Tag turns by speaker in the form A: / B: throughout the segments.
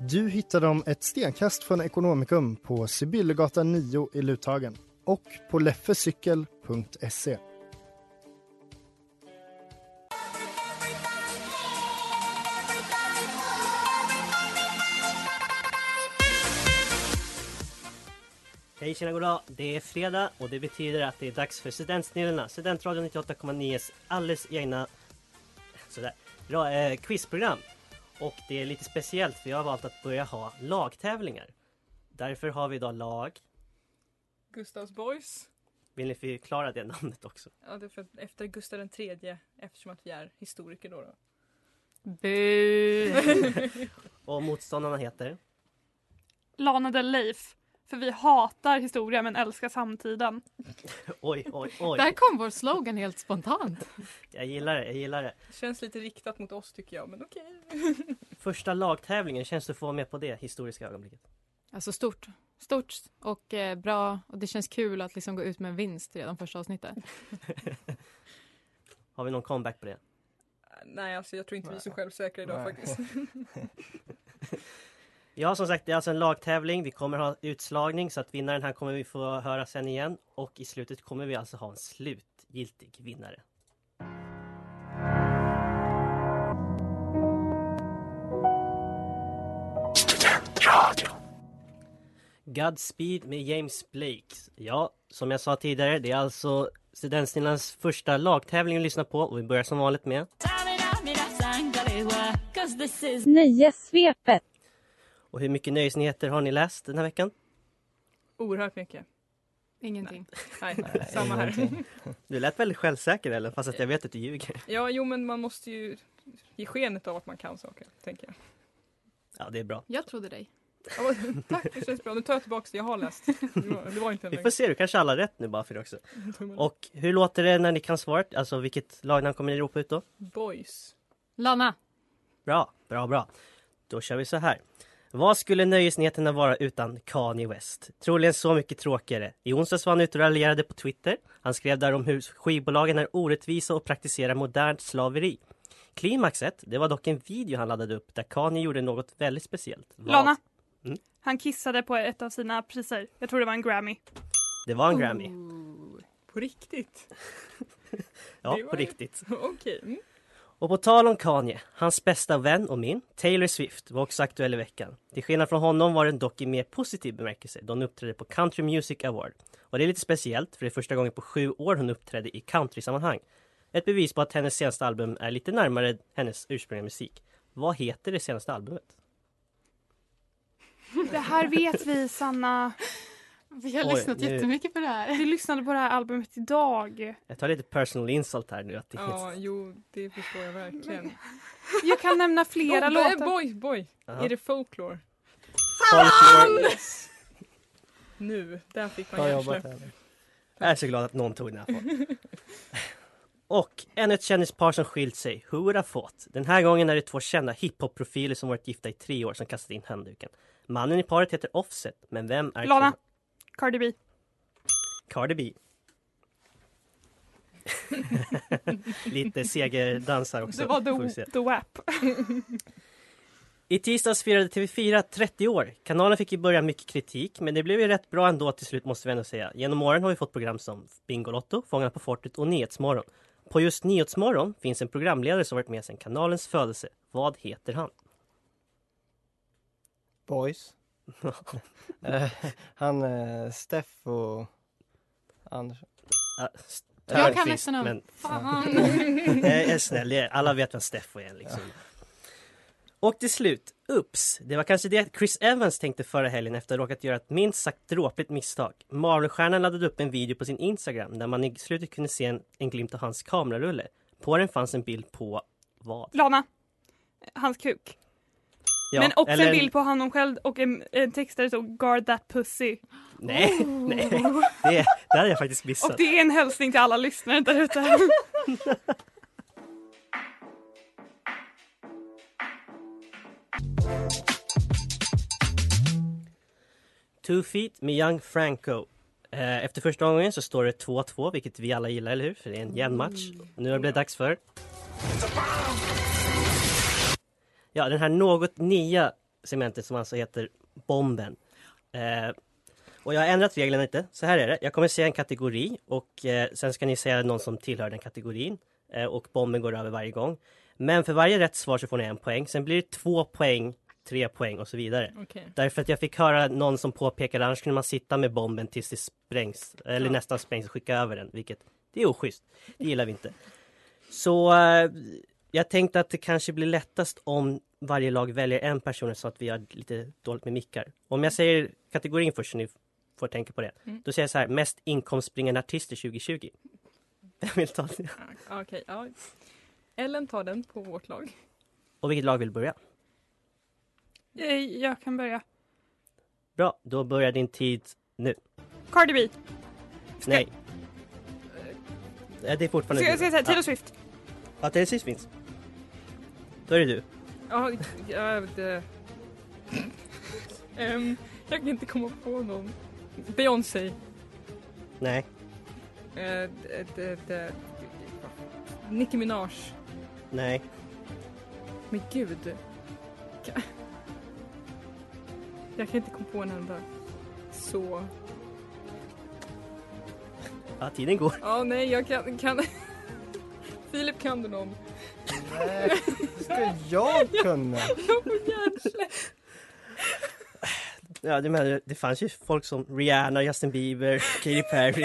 A: Du hittar dem ett stenkast från Ekonomikum på Sibyllegatan 9 i Luthagen och på leffecykel.se.
B: Hej tjena goddag! Det är fredag och det betyder att det är dags för Studentsnillena, Studentradion 98,9s alldeles egna sådär, ra, eh, quizprogram. Och det är lite speciellt för jag har valt att börja ha lagtävlingar. Därför har vi idag lag.
C: Gustavs boys.
B: Vill ni förklara det namnet också?
C: Ja, det är för att efter Gustav den tredje, eftersom att vi är historiker då. då.
D: Bu!
B: Och motståndarna heter?
D: Lana Del Leif. För vi hatar historia men älskar samtiden.
B: Oj, oj,
E: Där
B: oj!
E: kom vår slogan helt spontant.
B: Jag gillar det, jag gillar det.
C: Det känns lite riktat mot oss tycker jag, men okej.
B: Första lagtävlingen, känns det att få vara med på det historiska ögonblicket?
E: Alltså stort. Stort och eh, bra. Och det känns kul att liksom gå ut med en vinst redan första avsnittet.
B: Har vi någon comeback på det?
C: Nej, alltså jag tror inte vi är så självsäkra idag
F: Nej.
C: faktiskt.
B: Ja, som sagt, det är alltså en lagtävling. Vi kommer ha utslagning så att vinnaren här kommer vi få höra sen igen. Och i slutet kommer vi alltså ha en slutgiltig vinnare. Godspeed med James Blake. Ja, som jag sa tidigare, det är alltså Studentsnillans första lagtävling att lyssna på och vi börjar som vanligt med
G: Nya svepet.
B: Och hur mycket nöjesnyheter har ni läst den här veckan?
C: Oerhört mycket.
E: Ingenting.
C: Nej, samma här.
B: Du lät väldigt självsäker eller fast att jag vet att du ljuger.
C: Ja, jo men man måste ju ge skenet av att man kan saker, tänker jag.
B: Ja, det är bra.
E: Jag trodde dig.
C: Ja, men tack, det känns bra. Nu tar jag tillbaka det jag har läst. Det var, det var inte en
B: Vi får se, du kanske har alla rätt nu bara för det också.
C: lögn.
B: Och hur låter det när ni kan svaret? Alltså vilket lagnamn kommer ni ropa ut då?
C: Boys.
E: Lana,
B: Bra, bra, bra. Då kör vi så här. Vad skulle nöjesnyheterna vara utan Kanye West? Troligen så mycket tråkigare. I onsdags var han ute och raljerade på Twitter. Han skrev där om hur skivbolagen är orättvisa och praktiserar modernt slaveri. Klimaxet, det var dock en video han laddade upp där Kanye gjorde något väldigt speciellt. Vad-
D: Lana.
B: Mm.
D: Han kissade på ett av sina priser. Jag tror det var en Grammy.
B: Det var en Grammy.
C: Oh, På riktigt?
B: Ja,
C: det var
B: på
C: ju-
B: riktigt.
C: Okej. Mm.
B: Och på tal om Kanye, hans bästa vän och min, Taylor Swift, var också aktuell i veckan. Till skillnad från honom var den dock i mer positiv bemärkelse då hon uppträdde på Country Music Award. Och det är lite speciellt, för det är första gången på sju år hon uppträdde i countrysammanhang. Ett bevis på att hennes senaste album är lite närmare hennes ursprungliga musik. Vad heter det senaste albumet?
D: Det här vet vi Sanna.
E: vi har
B: Oj,
E: lyssnat
B: nu-
E: jättemycket på det här.
D: Vi lyssnade på det här albumet idag.
B: Jag tar lite personal insult här nu. Att det
C: Ja,
B: heter...
C: jo, det förstår jag verkligen.
D: Jag kan nämna flera
C: Oh,
D: låtar.
C: Boy, boy.
B: Ja.
C: Är det folklore?
B: Folklore-
C: Nu, där fick man
F: Bra jobbat
C: hjärnsläpp.
F: Henrik.
B: Jag är så glad att någon tog den här frågan. Och ännu ett kändispar som skilt sig. Hurra fått. Den här gången är det två kända hiphop-profiler som varit gifta i tre år som kastat in handduken. Mannen i paret heter Offset, men vem är
D: Lana.
B: kvinnan?
D: Cardi B.
B: Cardi B. Lite segerdansar också.
D: Det var
B: får vi
D: The,
B: se.
D: the WAP.
B: I tisdags firade TV4 30 år. Kanalen fick i början mycket kritik, men det blev ju rätt bra ändå till slut måste vi ändå säga. Genom åren har vi fått program som Bingolotto, Fångarna på fortet och Nyhetsmorgon. På just Nyhetsmorgon finns en programledare som varit med sedan kanalens födelse. Vad heter han?
F: Boys.
H: Eh, han, eh, Steff och Anders.
B: Ja, s-
E: Jag kan
B: Äh, Törnqvist,
E: nästan om-
B: men-
E: Fan.
B: Jag är snäll, jag- alla vet vem Steffo är liksom. Och till slut, ups! Det var kanske det Chris Evans tänkte förra helgen efter att ha råkat göra ett minst sagt dråpligt misstag. Marvel-stjärnan laddade upp en video på sin Instagram där man i slutet kunde se en, en glimt av hans kamerarulle. På den fanns en bild på vad?
D: Lana. Hans kuk.
B: Ja,
D: Men också
B: eller
D: en bild på honom själv och en, en text där det stod “Guard that pussy”.
B: Nej, nej. Det, det hade jag faktiskt missat.
D: Och det är en hälsning till alla lyssnare där ute.
B: Two Feet med Young Franco. Eh, Efter första gången så står det 2-2, vilket vi alla gillar, eller hur? För det är en jämn match. Nu har det blivit dags för... Ja, den här något nya segmentet som alltså heter Bomben. Eh, och jag har ändrat reglerna lite. Så här är det. Jag kommer säga en kategori och eh, sen ska ni säga någon som tillhör den kategorin. Eh, och bomben går över varje gång. Men för varje rätt svar så får ni en poäng. Sen blir det två poäng, tre poäng och så vidare.
C: Okej.
B: Därför att jag fick höra någon som påpekade annars kunde man sitta med bomben tills det sprängs, eller
C: Ja.
B: nästan sprängs och skicka över den, vilket det är oschysst. Det gillar vi inte. Så eh, jag tänkte att det kanske blir lättast om varje lag väljer en person så att vi har lite dåligt med mickar. Om jag säger kategorin först så ni får tänka på det.
C: Mm.
B: Då säger jag så här, mest inkomstbringande artister 2020. Vem vill ta det?
C: Ja, Ah, Okej, ja. Ellen tar den på vårt lag.
B: Och vilket lag vill börja?
D: Eh, Jag kan börja.
B: Bra, då börjar din tid nu.
D: Cardi B.
B: Nej. Eh, Det är
D: Ska
B: fortfarande
D: ska jag
B: du.
D: säga Taylor
B: Ja.
D: Swift?
B: Ja, Taylor Swift finns. Då är det du.
C: Ja, ja, det... Ehm, jag kan inte komma på någon. Beyoncé.
B: Nej.
C: Eh, d- d- d- Nicki Minaj.
B: Nej.
C: Men gud. Ka- Jag kan inte komma på en enda. Så.
B: Ja, tiden går.
C: Ja, nej, jag kan... kan... Filip, kan du någon?
H: Nej, det Eh, ska jag kunna.
C: Jag får hjärnsläpp.
B: Ja, du menar, det fanns ju folk som Rihanna, Justin Bieber, Katy Perry.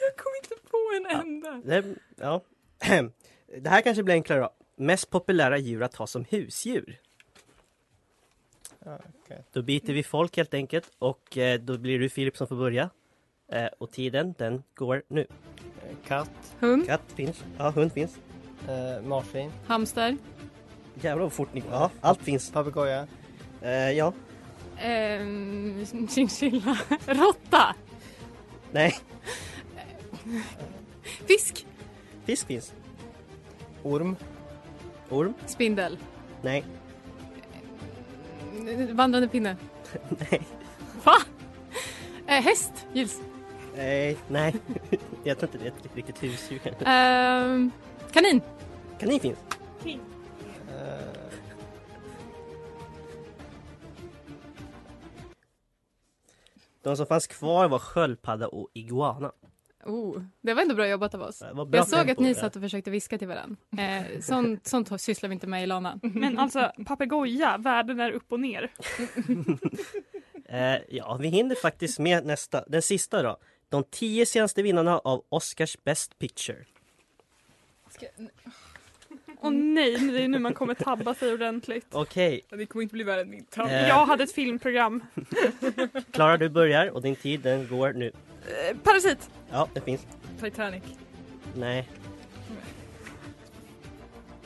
C: Jag kom inte på en enda.
B: Det, ja. det här kanske blir enklare då. Mest populära djur att ha som husdjur.
H: Ah, Okej.
B: Då byter vi folk helt enkelt och eh, då blir det Filip som får börja. Eh, och tiden, den går nu.
H: Eh, Katt,
E: Hund,
B: Katt finns. Ja, hund finns.
H: eh, marsvin,
E: hamster,
B: Jävlar vad fort ni går. Ja, allt finns.
H: papegoja,
B: Eh, ja,
E: ehm, chinchilla, råtta,
B: nej,
E: fisk,
B: fisk finns.
H: orm,
B: Orm?
E: spindel,
B: Nej,
E: eh, vandrande pinne.
B: nej,
E: Va? Eh, häst, gills.
B: nej, nej. Jag tror inte det är ett riktigt husdjur kanske.
E: Ehm, kanin,
B: Kanin finns.
H: eh,
B: De som fanns kvar var sköldpadda och iguana.
E: oh, det var ändå bra jobbat av oss.
B: Det var bra
E: Jag såg
B: tempo
E: att ni
B: där.
E: satt och försökte viska till varandra. Eh, sånt, sånt sysslar vi inte med i Lana.
D: Men alltså papegoja, världen är upp och ner.
B: Eh, ja, vi hinner faktiskt med nästa. Den sista då. De tio senaste vinnarna av Oscars Best Picture.
C: Ska...
D: Och nej, det är nu man kommer tabba sig ordentligt.
B: Okej,
C: Ja, Det kommer inte bli värre än min tand.
B: Eh.
D: Jag hade ett filmprogram.
B: Klara du börjar och din tid den går nu.
D: Eh, Parasit.
B: Ja, det finns.
C: Titanic.
B: Nej,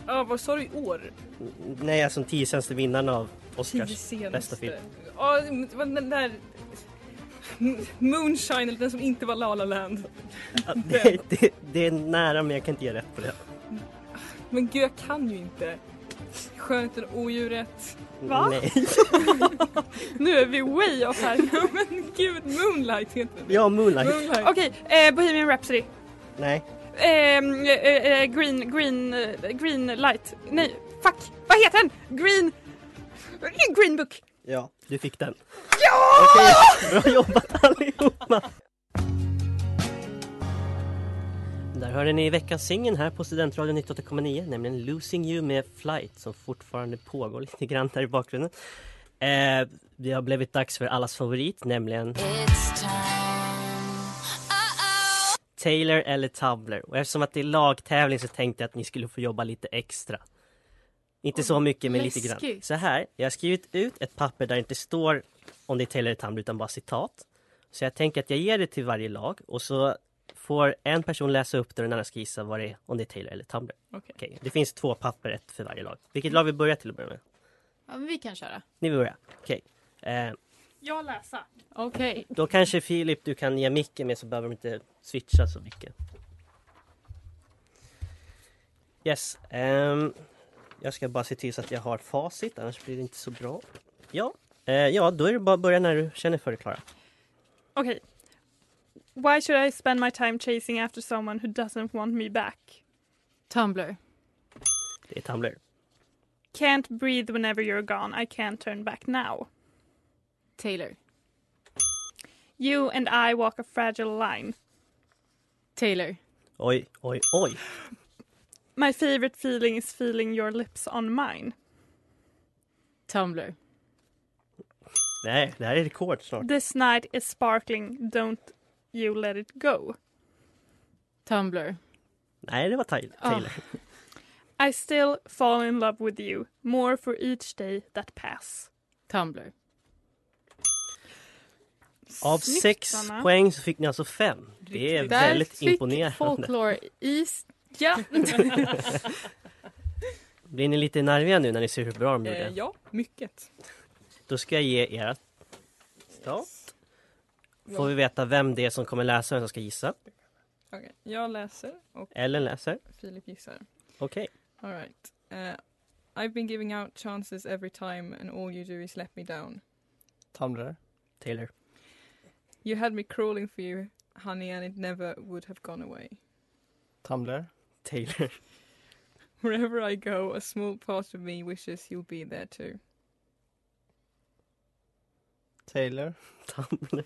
C: Ja, vad sa du i år?
B: N- nej alltså de tio senaste vinnarna av
C: Tio
B: Oscars.
C: senaste.
B: bästa film.
C: Ja, det var den där... M- Moonshine, eller den som inte var La La Land.
B: Ja, det, det, det är nära men jag kan inte ge rätt på det.
C: Men gud, jag kan ju inte. Skönheten och odjuret.
D: Va?
B: Nej.
D: Nu är vi way off här.
C: Men gud, Moonlight heter den.
B: Ja, Moonlight.
C: Moonlight.
D: Okej, eh, Bohemian Rhapsody.
B: Nej,
D: Ehm, eh, eh, green, green, eh, green light. Nej, fuck. Vad heter den? Green... eh, Green book.
B: ja, du fick den. Ja! Okej, bra jobbat allihopa! Där hörde ni veckans singeln här på Studentradion 98,9, nämligen Losing You med Flight som fortfarande pågår lite grann där i bakgrunden. Eh, Eh, det har blivit dags för allas favorit, nämligen Taylor eller Tumblr. Och eftersom att det är lagtävling så tänkte jag att ni skulle få jobba lite extra. Inte så mycket, men lite grann.
E: läskigt.
B: Så här, jag har skrivit ut ett papper där det inte står om det är Taylor eller Tumblr, utan bara citat. Så jag tänker att jag ger det till varje lag och så får en person läsa upp det och den andra ska gissa vad det är, om det är Taylor eller Tumblr.
C: Okej.
B: Okej, Det finns två papper, ett för varje lag. Vilket lag vill börja till att börja med?
E: Ja, men vi kan köra.
B: Ni vill börja? Okej. Eh,
D: Jag läsa.
E: Okej.
B: då kanske Filip, du kan ge micken med så behöver de inte switcha så mycket. Yes. ehm, jag ska bara se till så att jag har facit, annars blir det inte så bra. Ja, eh, ja då är det bara att börja när du känner för det, Klara.
D: Okej. Why should I spend my time chasing after someone who doesn't want me back?
E: Tumblr.
B: Det är Tumblr.
D: Can't breathe whenever you're gone. I can't turn back now.
E: Taylor.
D: You and I walk a fragile line.
E: Taylor.
B: Oj, oj, oj.
D: My favorite feeling is feeling your lips on mine.
E: Tumblr.
B: Nej, det här är rekord snart.
D: This night is sparkling. Don't you let it go.
E: Tumblr.
B: Nej, det var Ty- Taylor.
D: I still fall in love with you. More for each day that pass.
E: Tumblr.
B: Av
D: Snyggt,
B: sex
D: Anna.
B: poäng så fick ni alltså fem. Det är
E: Där
B: väldigt
E: fick
B: imponerande.
E: folklore i... Ja!
B: Blir ni lite nerviga nu när ni ser hur bra de gjorde?
C: Eh, ja, mycket.
B: Då ska jag ge er stat. Får vi veta vem det är som kommer läsa och vem som ska gissa.
C: Okej, Jag läser och
B: Ellen läser.
C: Filip gissar.
B: Okej.
C: All right. Uh, I've been giving out chances every time and all you do is let me down.
H: Tumblr.
B: Taylor.
C: You had me crawling for you, honey, and it never would have gone away.
H: Tumblr.
B: Taylor.
C: Wherever I go, a small part of me wishes you'll be there too.
H: Taylor.
B: Tumblr.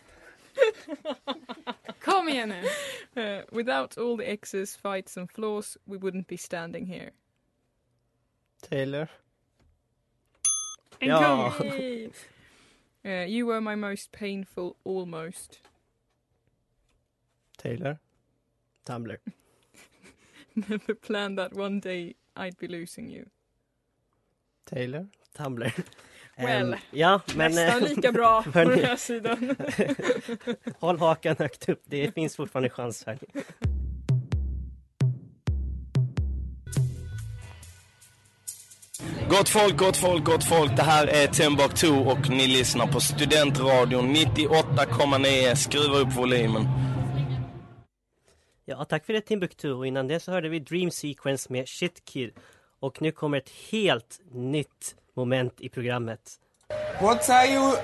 E: Kom igen nu!
C: Uh, without all the exes, fights, and flaws, we wouldn't be standing here.
H: Taylor.
D: En
B: Ja.
D: kung.
C: Uh, you were my most painful almost.
H: Taylor.
B: Tumblr.
C: Never planned that one day I'd be losing you.
H: Taylor.
B: Tumblr. Ehm,
C: Well,
B: ja, men
C: Nästan
B: eh,
C: lika bra på
B: hörni.
C: den här sidan.
B: håll hakan högt upp. Det finns fortfarande chans här.
F: Gott folk, gott folk, gott folk. Det här är Timbuktu och ni lyssnar på Studentradion 98,9. Skruva upp volymen.
B: Ja, tack för det Timbuktu. Och innan det så hörde vi Dream Sequence med Shit Kid. Och nu kommer ett helt nytt moment i programmet.
I: What are you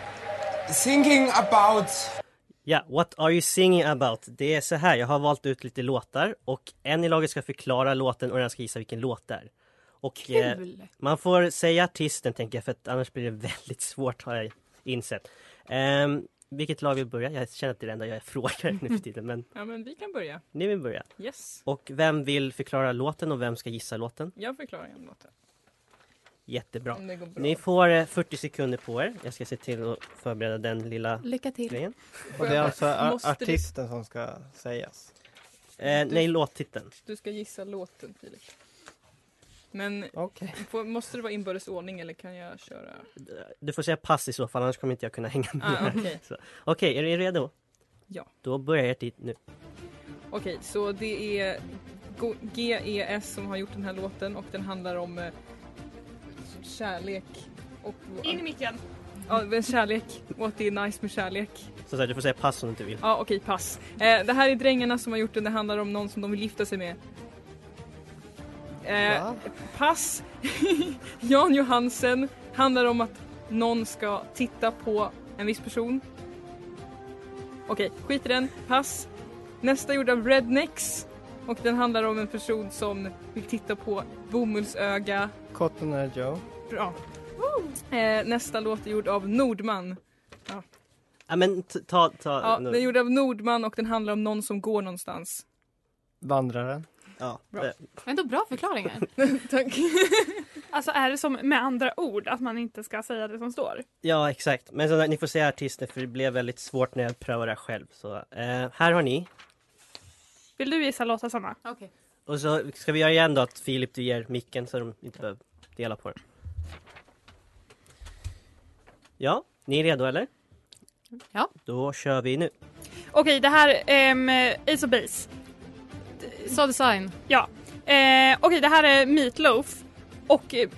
I: thinking about?
B: Ja, What Are You Singing About? Det är så här, jag har valt ut lite låtar och en i laget ska förklara låten och den ska gissa vilken låt det är. Och eh,
E: Kul!
B: man får säga artisten tänker jag för att annars blir det väldigt svårt har jag insett. Ehm, vilket lag vill börja? Jag känner att det är det enda jag frågar nu för tiden men
C: ja, men vi kan börja.
B: ni vill börja.
C: Yes.
B: Och vem vill förklara låten och vem ska gissa låten?
C: Jag förklarar igen låten.
B: Jättebra.
C: Om det går bra.
B: Ni får eh, 40 sekunder på er. Jag ska se till att förbereda den lilla
E: Lycka till.
B: grejen.
H: Och det är alltså ar-
C: Måste du-
H: artisten som ska sägas.
B: Eh, nej, låttiteln.
C: Du ska gissa låten Filip. Men
H: Okej.
C: får, måste det vara inbördes ordning eller kan jag köra?
B: Du får säga pass i så fall, annars kommer inte jag kunna hänga med.
C: Ah, Okej,
B: Så, Okej, är ni redo?
C: Ja.
B: Då börjar jag tid nu.
C: Okej, så det är Go- GES som har gjort den här låten och den handlar om eh, kärlek. Och,
D: In i micken.
C: ja, men kärlek och att det är nice med kärlek.
B: Så, så här, du får säga pass om du inte vill.
C: Ja, okej, pass. Eh, det här är Drängarna som har gjort den. Det handlar om någon som de vill gifta sig med. Eh,
H: Va?
C: Pass. Jan Johansen handlar om att någon ska titta på en viss person. Okej, skit i den. Pass. Nästa är gjord av Rednex och den handlar om en person som vill titta på bomullsöga.
H: Cotton Eye Joe.
C: Bra. Eh, nästa låt är gjord av Nordman.
B: Ja, men t- ta, ta.
C: Ja,
B: nu.
C: den är gjord av Nordman och den handlar om någon som går någonstans.
H: Vandraren.
B: Ja, Eh,
D: Bra.
B: det-
D: Ändå bra förklaringar.
C: Tack.
D: alltså är det som med andra ord att man inte ska säga det som står?
B: ja exakt. Men så, ni får säga artister för det blev väldigt svårt när jag prövade det här själv. Så, eh, här har ni.
D: Vill du gissa låtar Sanna?
E: Okej.
B: Och så ska vi göra igen då att Filip du ger micken så de inte behöver dela på den. Ja, ni är redo eller?
D: Ja.
B: Då kör vi nu.
D: Okej, det här ehm, Ace of Base.
E: Soul Design.
D: Ja. Eh, Okej, det här är Meatloaf. Och... eh,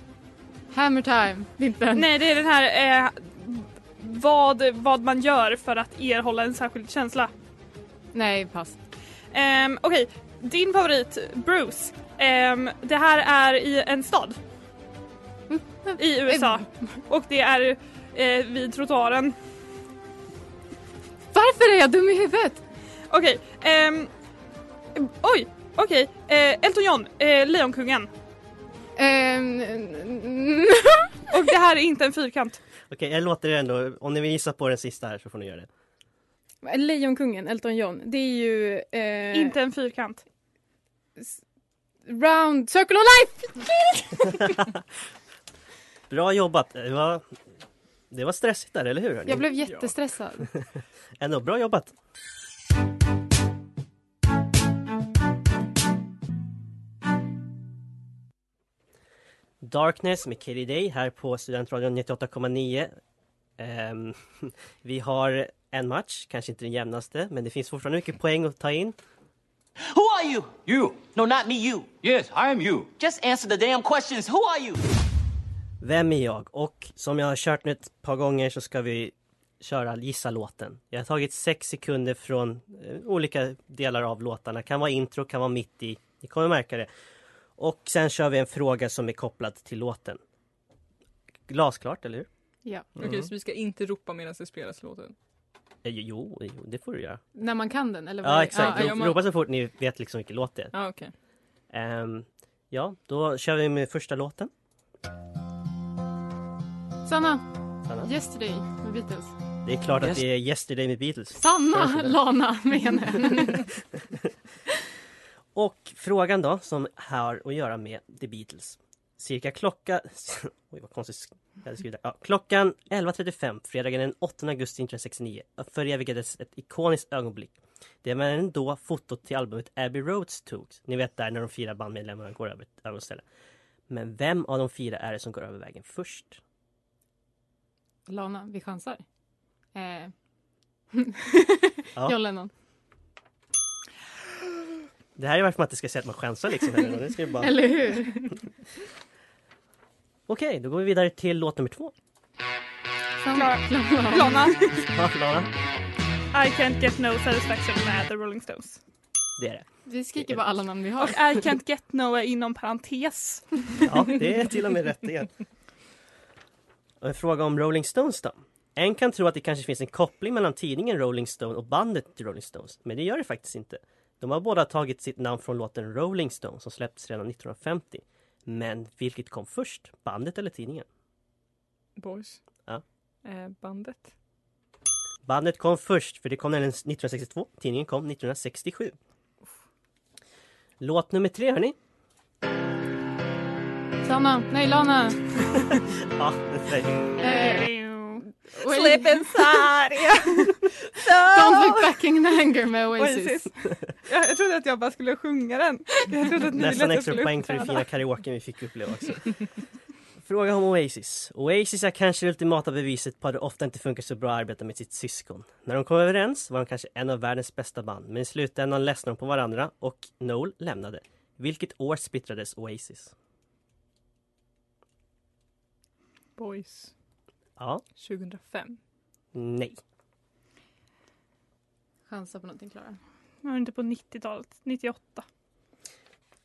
E: Hammer Time. Det är inte den.
D: Nej, det är den här... Eh, vad, vad man gör för att erhålla en särskild känsla.
E: Nej, pass.
D: Ehm, Okej, din favorit Bruce. Ehm, det här är i en stad. I USA. Och det är eh, vid trottoaren.
E: Varför är jag dum i huvudet?
D: Okej, ehm, oj, okej. Eh, Elton John, eh, Lejonkungen.
E: Ehm,
D: Och det här är inte en fyrkant.
B: Okej, jag låter det ändå. Om ni vill gissa på den sista här så får ni göra det.
J: Lejonkungen, Elton John. Det är ju... Eh,
D: Inte en fyrkant.
J: Round Circle of Life!
B: Bra jobbat! Det var, det var stressigt där, eller hur? hörni?
E: Jag blev jättestressad.
B: Ändå, bra jobbat! Darkness med Katie Day här på Studentradion 98,9. Ehm, vi har en match, kanske inte den jämnaste, men det finns fortfarande mycket poäng att ta in.
K: Who are you? You. No, not me, you. Yes, I am you. Just answer the damn questions. Who are you?
B: Vem är jag? Och som jag har kört nu ett par gånger så ska vi köra Gissa låten. Jag har tagit sex sekunder från eh, olika delar av låtarna. Kan vara intro, kan vara mitt i. Ni kommer märka det. Och sen kör vi en fråga som är kopplad till låten. Glasklart, eller hur?
E: ja.
C: Okej, så vi ska inte ropa medan det spelas låten.
B: Eh, Jo, jo det får du göra.
E: När man kan den eller? vad är
B: Ja,
E: det?
B: exakt.
E: Ja,
B: Ro-
E: ja, man-
B: Ropa så fort ni vet liksom vilken låt det är.
E: Ja, okej.
B: Ehm, ja, då kör vi med första låten.
E: Sanna.
B: Sanna.
E: Yesterday med Beatles.
B: Det är klart
E: Yes.
B: att det är Yesterday med Beatles.
E: Sanna Lana menar jag.
B: Och frågan då, som har att göra med The Beatles. Cirka klocka... Oj, vad konstigt. sk- jag hade skrivit där. Ja, klockan 11.35 fredagen den 8 augusti 1969 förevigades ett ikoniskt ögonblick. Det var ändå fotot till albumet Abbey Roads togs. Ni vet där när de fyra bandmedlemmarna går över ett ögonställe. Men vem av de fyra är det som går över vägen först?
E: Lana, vi chansar. Eh.
B: Ja.
E: John Lennon.
B: Det här är varför man inte ska säga att man chansar liksom. Eller, det ska ju bara...
E: Eller hur?
B: Okej, då går vi vidare till låt nummer två.
D: Klara. Lana.
B: Ja, Lana,
D: I can't get no satisfaction med The Rolling Stones.
B: det är det.
E: Vi skriker bara alla namn vi har.
D: Och I can't get no är inom parentes.
B: Ja, det är till och med rätt igen. Och en fråga om Rolling Stones då. En kan tro att det kanske finns en koppling mellan tidningen Rolling Stone och bandet till Rolling Stones, men det gör det faktiskt inte. De har båda tagit sitt namn från låten Rolling Stone som släpptes redan 1950. Men vilket kom först, bandet eller tidningen?
C: Boys.
B: Ja.
C: Eh, bandet.
B: Bandet kom först, för det kom nämligen 1962. Tidningen kom 1967. Låt nummer tre, hörni.
E: Sanna. Nej, Lana. Eh.
B: Ja, det är-
E: Slip
C: inside!
E: Don't look back in anger med Oasis.
C: Oasis. Jag, jag trodde att jag bara skulle sjunga den. Jag trodde att ni ville
B: Nästan
C: att jag
B: extra
C: skulle
B: poäng för den
C: uppträda.
B: fina karaoken vi fick uppleva också. Fråga om Oasis. Oasis är kanske det ultimata beviset på att det ofta inte funkar så bra att arbeta med sitt syskon. När de kom överens var de kanske en av världens bästa band, men i slutändan ledsnade de på varandra och Noel lämnade. Vilket år splittrades Oasis?
C: Boys.
B: Ja,
C: 2005.
B: nej.
E: Chansa på någonting Klara.
D: Var det inte på 90-talet? 98?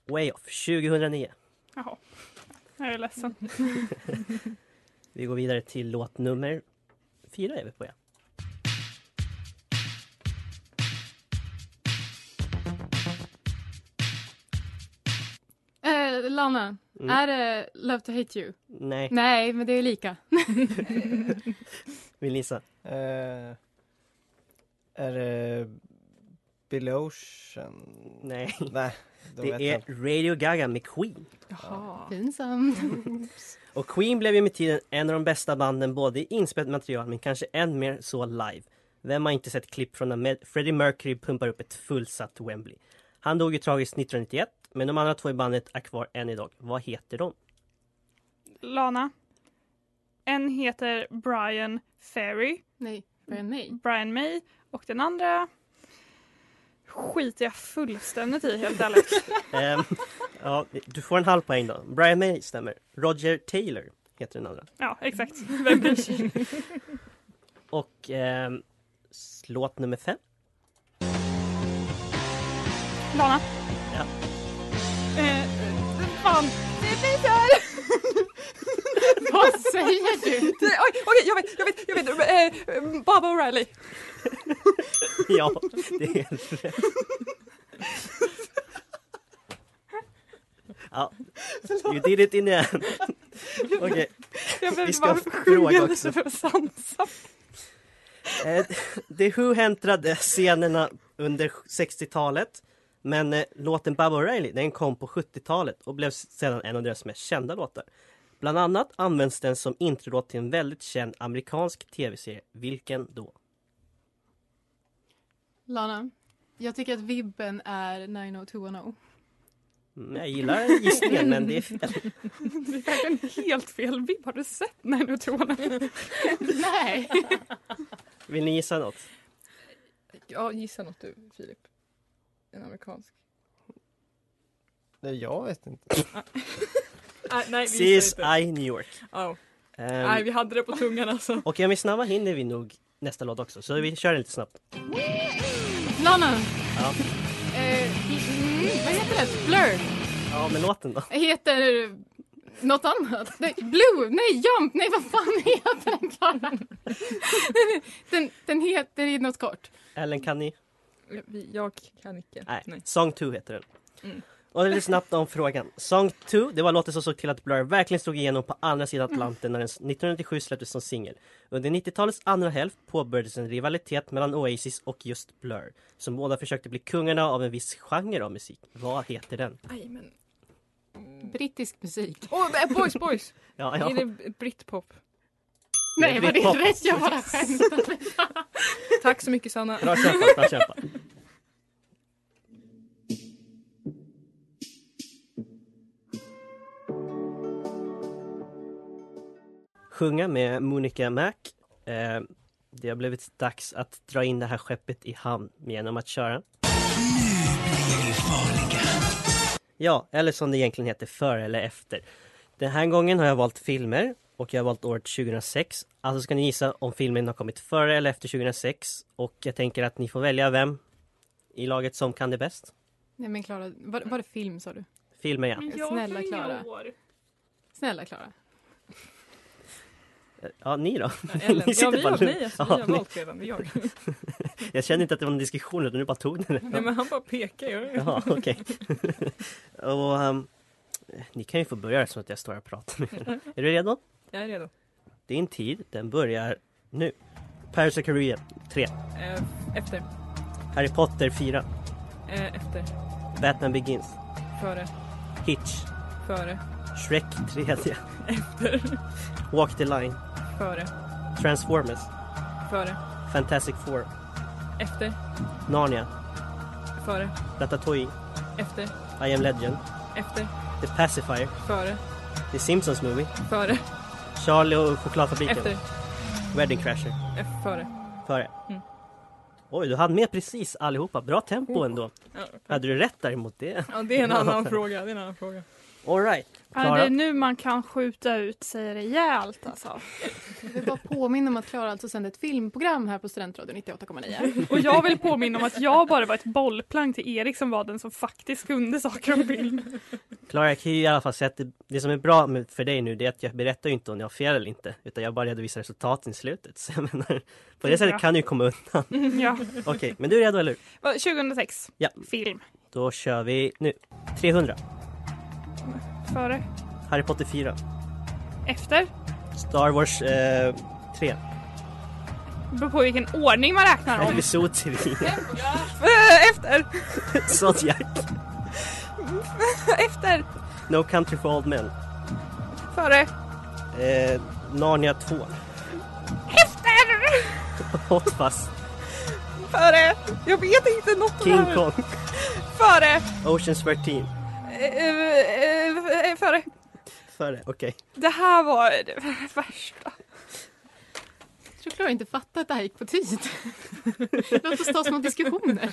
B: Way off, 2009.
D: Jaha. Jag är ledsen.
B: Vi går vidare till låt nummer fyra är vi på ja.
E: Eh, Lana.
B: Mm.
E: Är det Love to Hate You?
B: Nej,
E: Nej, men det är lika.
B: vill ni gissa?
H: Eh, är det Billy Ocean?
B: Nej.
H: Nej då vet jag
B: Det är
H: inte.
B: Radio Gaga med Queen.
E: Jaha. Pinsam.
B: Och Queen blev ju med tiden en av de bästa banden både i inspelat material men kanske än mer så live. Vem har inte sett klipp från när Med- Freddie Mercury pumpar upp ett fullsatt Wembley? Han dog ju tragiskt 1991 men de andra två i bandet är kvar än idag. Vad heter de?
D: Lana. En heter Brian Ferry.
E: Nej, Brian May.
D: Brian May. Och den andra skiter jag fullständigt i helt ärligt.
B: Ehm, ja, du får en halv poäng då. Brian May stämmer. Roger Taylor heter den andra.
D: ja, exakt. Vem bryr sig?
B: Och ehm, s- låt nummer fem.
D: Lana.
B: Ja.
D: Eh, fan, det blir där!
E: Vad säger du?
C: Nej, oj, okej, jag vet, jag vet, jag vet. Eh, Bob O'Reilly.
B: ja, det är helt rätt. Ja, you did it in the end. Okej.
D: Jag
B: Vi
D: behöver
B: ska
D: bara
B: fråga
D: sjunga
B: också.
D: lite för att sansa.
B: Eh, The Who häntrade scenerna under 60-talet men eh, låten Baba O'Reilly den kom på 70-talet och blev sedan en av deras mest kända låtar. Bland annat används den som introlåt till en väldigt känd amerikansk tv-serie. Vilken då?
E: Lana, jag tycker att vibben är 90210.
B: Mm, jag gillar gissningen men det är fel.
D: Det är en helt fel vibb. Har du sett Nej, nu tror jag.
E: Nej.
B: Vill ni gissa något?
C: Ja, gissa något du, Filip. En amerikansk.
H: Nej, jag vet inte.
C: Ah, nej, vi
B: Seas
C: gissar
B: I New York.
C: inte. Oh.
B: Ehm,
C: Nej, vi hade det på tungan alltså.
B: och om vi är snabba hinner vi nog nästa låt också så vi kör den lite snabbt.
E: Lana,
B: Ja,
E: eh, mm, vad heter det? Blur?
B: ja men låten då?
E: Heter något annat? Nej, Blue? Nej, Jump? Nej, vad fan heter den, Klara? Den, den heter ju något kort.
B: Ellen kan ni?
C: Vi- Jag kan icke.
B: Nej, Song 2 heter den.
C: Mm.
B: Och lite snabbt om frågan. Song 2, det var låten som såg till att Blur verkligen slog igenom på andra sidan Atlanten när den 1997 släpptes som singel. Under 90-talets andra hälft påbörjades en rivalitet mellan Oasis och just Blur, som båda försökte bli kungarna av en viss genre av musik. Vad heter den?
C: Aj, men...
E: Brittisk musik.
C: Åh, eh, boys, boys!
B: Ja, ja.
C: Är det Britpop?
E: Nej, var det
B: Britpop.
E: rätt? Jag bara skämtade.
C: Tack så mycket Sanna.
B: Bra kämpat, bra kämpat. Sjunga med Monica Mac. Eh, det har blivit dags att dra in det här skeppet i hamn genom att köra. Ja, eller som det egentligen heter, före eller efter. Den här gången har jag valt filmer och jag har valt året 2006. Alltså ska ni gissa om filmen har kommit före eller efter 2006. Och jag tänker att ni får välja vem i laget som kan det bäst.
E: Nej, men Klara, var, var det film sa du?
B: Filmer ja.
E: Snälla Klara. Snälla Klara.
B: Ja, ni då?
C: Ellen.
B: Ni sitter
C: Ja, vi
B: bara
C: har, nej, alltså, vi
B: Ja,
C: har
B: ni-
C: valt redan. Det är jag.
B: Jag kände inte att det var någon diskussion utan du bara tog den.
C: Nej, men han bara pekar. Jag.
B: Jaha, okej. och ehm, ni kan ju få börja eftersom att jag står här och pratar med er. Är du redo?
C: jag är redo.
B: Din tid, den börjar nu. Paris of Korea 3.
C: Eh, efter.
B: Harry Potter 4.
C: Eh, efter.
B: Batman Begins.
C: Före.
B: Hitch.
C: Före.
B: Shrek 3.
C: Efter.
B: Walk the Line.
C: Före.
B: Transformers.
C: Före.
B: Fantastic Four.
C: Efter.
B: Narnia.
C: Före.
B: Ratatouille.
C: Efter.
B: I am Legend.
C: Efter.
B: The Pacifier.
C: Före.
B: The Simpsons Movie.
C: Före.
B: Charlie och chokladfabriken.
C: Efter.
B: Wedding Crasher.
C: Eh, Före.
B: Före.
C: Mm.
B: Oj, du hann med precis allihopa. Bra tempo ändå.
C: Ja,
B: Hade du rätt däremot? Det?
C: Ja, det är en annan fråga. Det är en annan fråga.
B: All right.
D: Ja, det
B: Klara.
D: är nu man kan skjuta ut sig rejält alltså.
E: Jag vill bara påminna om att Klara alltså sände ett filmprogram här på Studentradion 98,9.
D: Och jag vill påminna om att jag bara var ett bollplank till Erik som var den som faktiskt kunde saker om film.
B: Klara, jag kan ju i alla fall säga att det, det som är bra med, för dig nu det är att jag berättar ju inte om jag har fel eller inte. Utan jag bara redovisar resultaten i slutet. Så jag menar, på det
D: Ja.
B: sättet kan du ju komma undan.
D: Ja.
B: Okej, men du är redo eller hur?
D: Vad, 2006.
B: Ja.
D: Film.
B: Då kör vi nu. 300.
D: Före.
B: Harry Potter 4.
D: Efter.
B: Star Wars eh, 3.
D: Det beror på vilken ordning man räknar om.
B: Episodteori.
D: Eh, Efter.
B: Zodiac.
D: Efter.
B: No Country for Old Men.
D: Före.
B: Eh, Narnia 2.
D: Efter.
B: Hot Fuzz.
D: Före. Jag vet inte något om det
B: King
D: här.
B: Kong.
D: Före.
B: Oceans 13.
D: Eh, eh, eh, Före.
B: Före, okej.
D: Det här var det värsta.
E: Jag tror Klara inte fattar att det här gick på tid. Låt oss ta små diskussioner.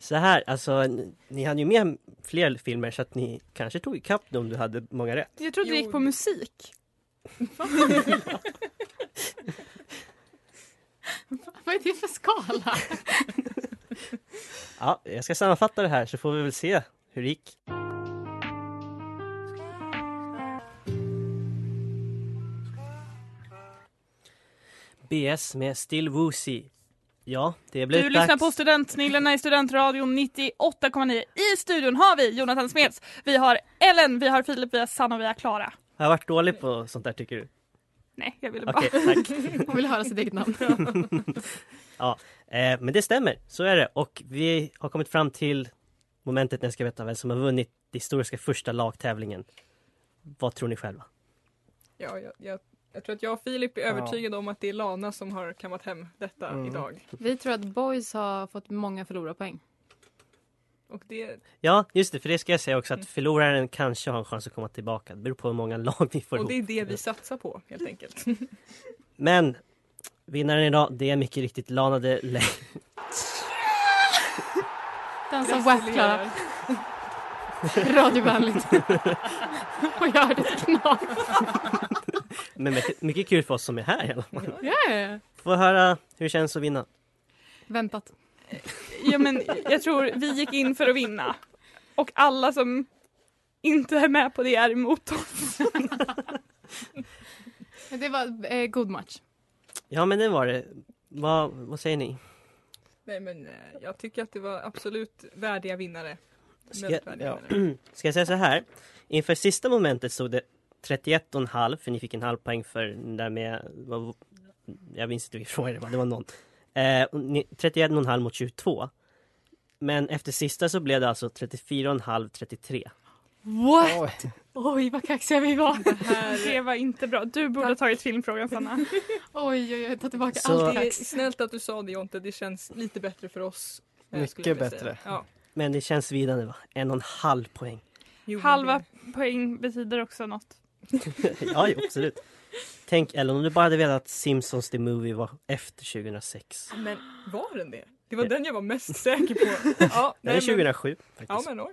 B: Så här, alltså ni, ni hade ju med fler filmer så att ni kanske tog ikapp dem du hade många rätt.
D: Jag trodde det gick på musik.
E: Vad är det för skala?
B: Ja, jag ska sammanfatta det här så får vi väl se hur det gick. BS med Still Woozy. Ja, det blev
D: Du
B: dags.
D: lyssnar på Studentsnillena i Studentradion 98,9. I studion har vi Jonathan Smeds, vi har Ellen, vi har Filip, vi har Sanna och vi har Klara.
B: Har jag varit dålig på sånt där tycker du?
D: Nej, jag ville bara...
B: Okej, tack.
E: Hon vill höra sitt eget namn.
B: ja, eh, men det stämmer. Så är det. Och vi har kommit fram till momentet när jag ska veta vem som har vunnit den historiska första lagtävlingen. Vad tror ni själva?
C: Ja, jag, jag, jag tror att jag och Filip är övertygade om att det är Lana som har kammat hem detta
B: Mm.
C: idag.
E: Vi tror att boys har fått många förlorarpoäng.
C: Och det,
B: Ja, just det, för det ska jag säga också att förloraren kanske har en chans att komma tillbaka. Det beror på hur många lag vi får
C: och det är
B: ihop.
C: det vi satsar på helt enkelt.
B: Men vinnaren idag, det är mycket riktigt Lana de Le-
E: Den som WAP Klara. Radiovänligt. Och jag hörde ett knak.
B: Men mycket, mycket kul för oss som är här i alla fall.
E: Yeah.
B: Få höra hur det känns att vinna.
E: Väntat.
D: Ja, men jag tror vi gick in för att vinna. Och alla som inte är med på det är emot oss.
E: Men Det var eh, god match.
B: Ja, men det var det. Vad, vad säger ni?
C: Nej men eh, jag tycker att det var absolut värdiga vinnare.
B: Ska,
C: Väldigt värdiga
B: ja.
C: vinnare.
B: Ska jag säga så här? Inför sista momentet stod det 31,5 för ni fick en halv poäng för den där med... Vad, jag minns inte vilken fråga det var, det var någon. Eh, och ni- 31,5 mot 22. Men efter sista så blev det alltså 34,5 33.
E: What? Oj, vad kaxiga vi var.
D: Det var inte bra. Du borde ha tagit filmfrågan Sanna.
E: Oj, oj, oj, ta tillbaka
B: Så-
E: allt
C: Det är
E: kax.
C: Eh, snällt att du sa det Jonte, det känns lite bättre för oss. eh,
A: Mycket
C: skulle jag vilja
A: bättre.
C: säga. Ja.
B: Men det känns vidare va? En och en halv poäng.
C: Jo,
D: Halva poäng betyder också något.
B: ja, jo, absolut. Tänk Ellen, om du bara hade vetat att Simpsons The Movie var efter 2006.
C: Men var den det? Det var den jag var mest säker på. Ja,
B: Den är 2007 faktiskt.
C: Ja, men, oj.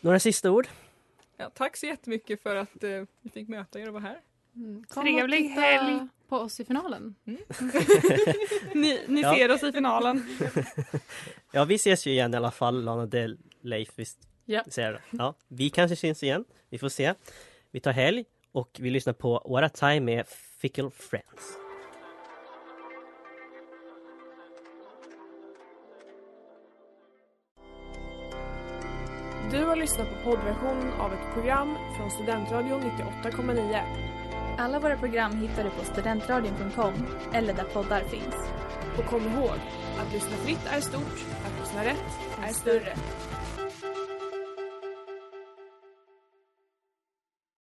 B: Några sista ord?
C: ja, tack så jättemycket för att eh, vi fick möta er och vara här.
E: Mm. Kom
D: Trevlig
E: och titta
D: helg.
E: på oss i finalen.
D: Ni, ni
B: Ja.
D: ser oss i finalen.
B: Ja, vi ses ju igen i alla fall, Lana Del Leif. Visst?
E: Ja.
B: Säger jag då. ja. Vi kanske syns igen. Vi får se. Vi tar helg och vi lyssnar på What a Time med Fickle Friends.
L: Du har lyssnat på poddversion av ett program från Studentradion 98,9.
M: Alla våra program hittar du på studentradion.com eller där poddar finns.
L: Och kom ihåg, att lyssna fritt är stort, att lyssna rätt är större.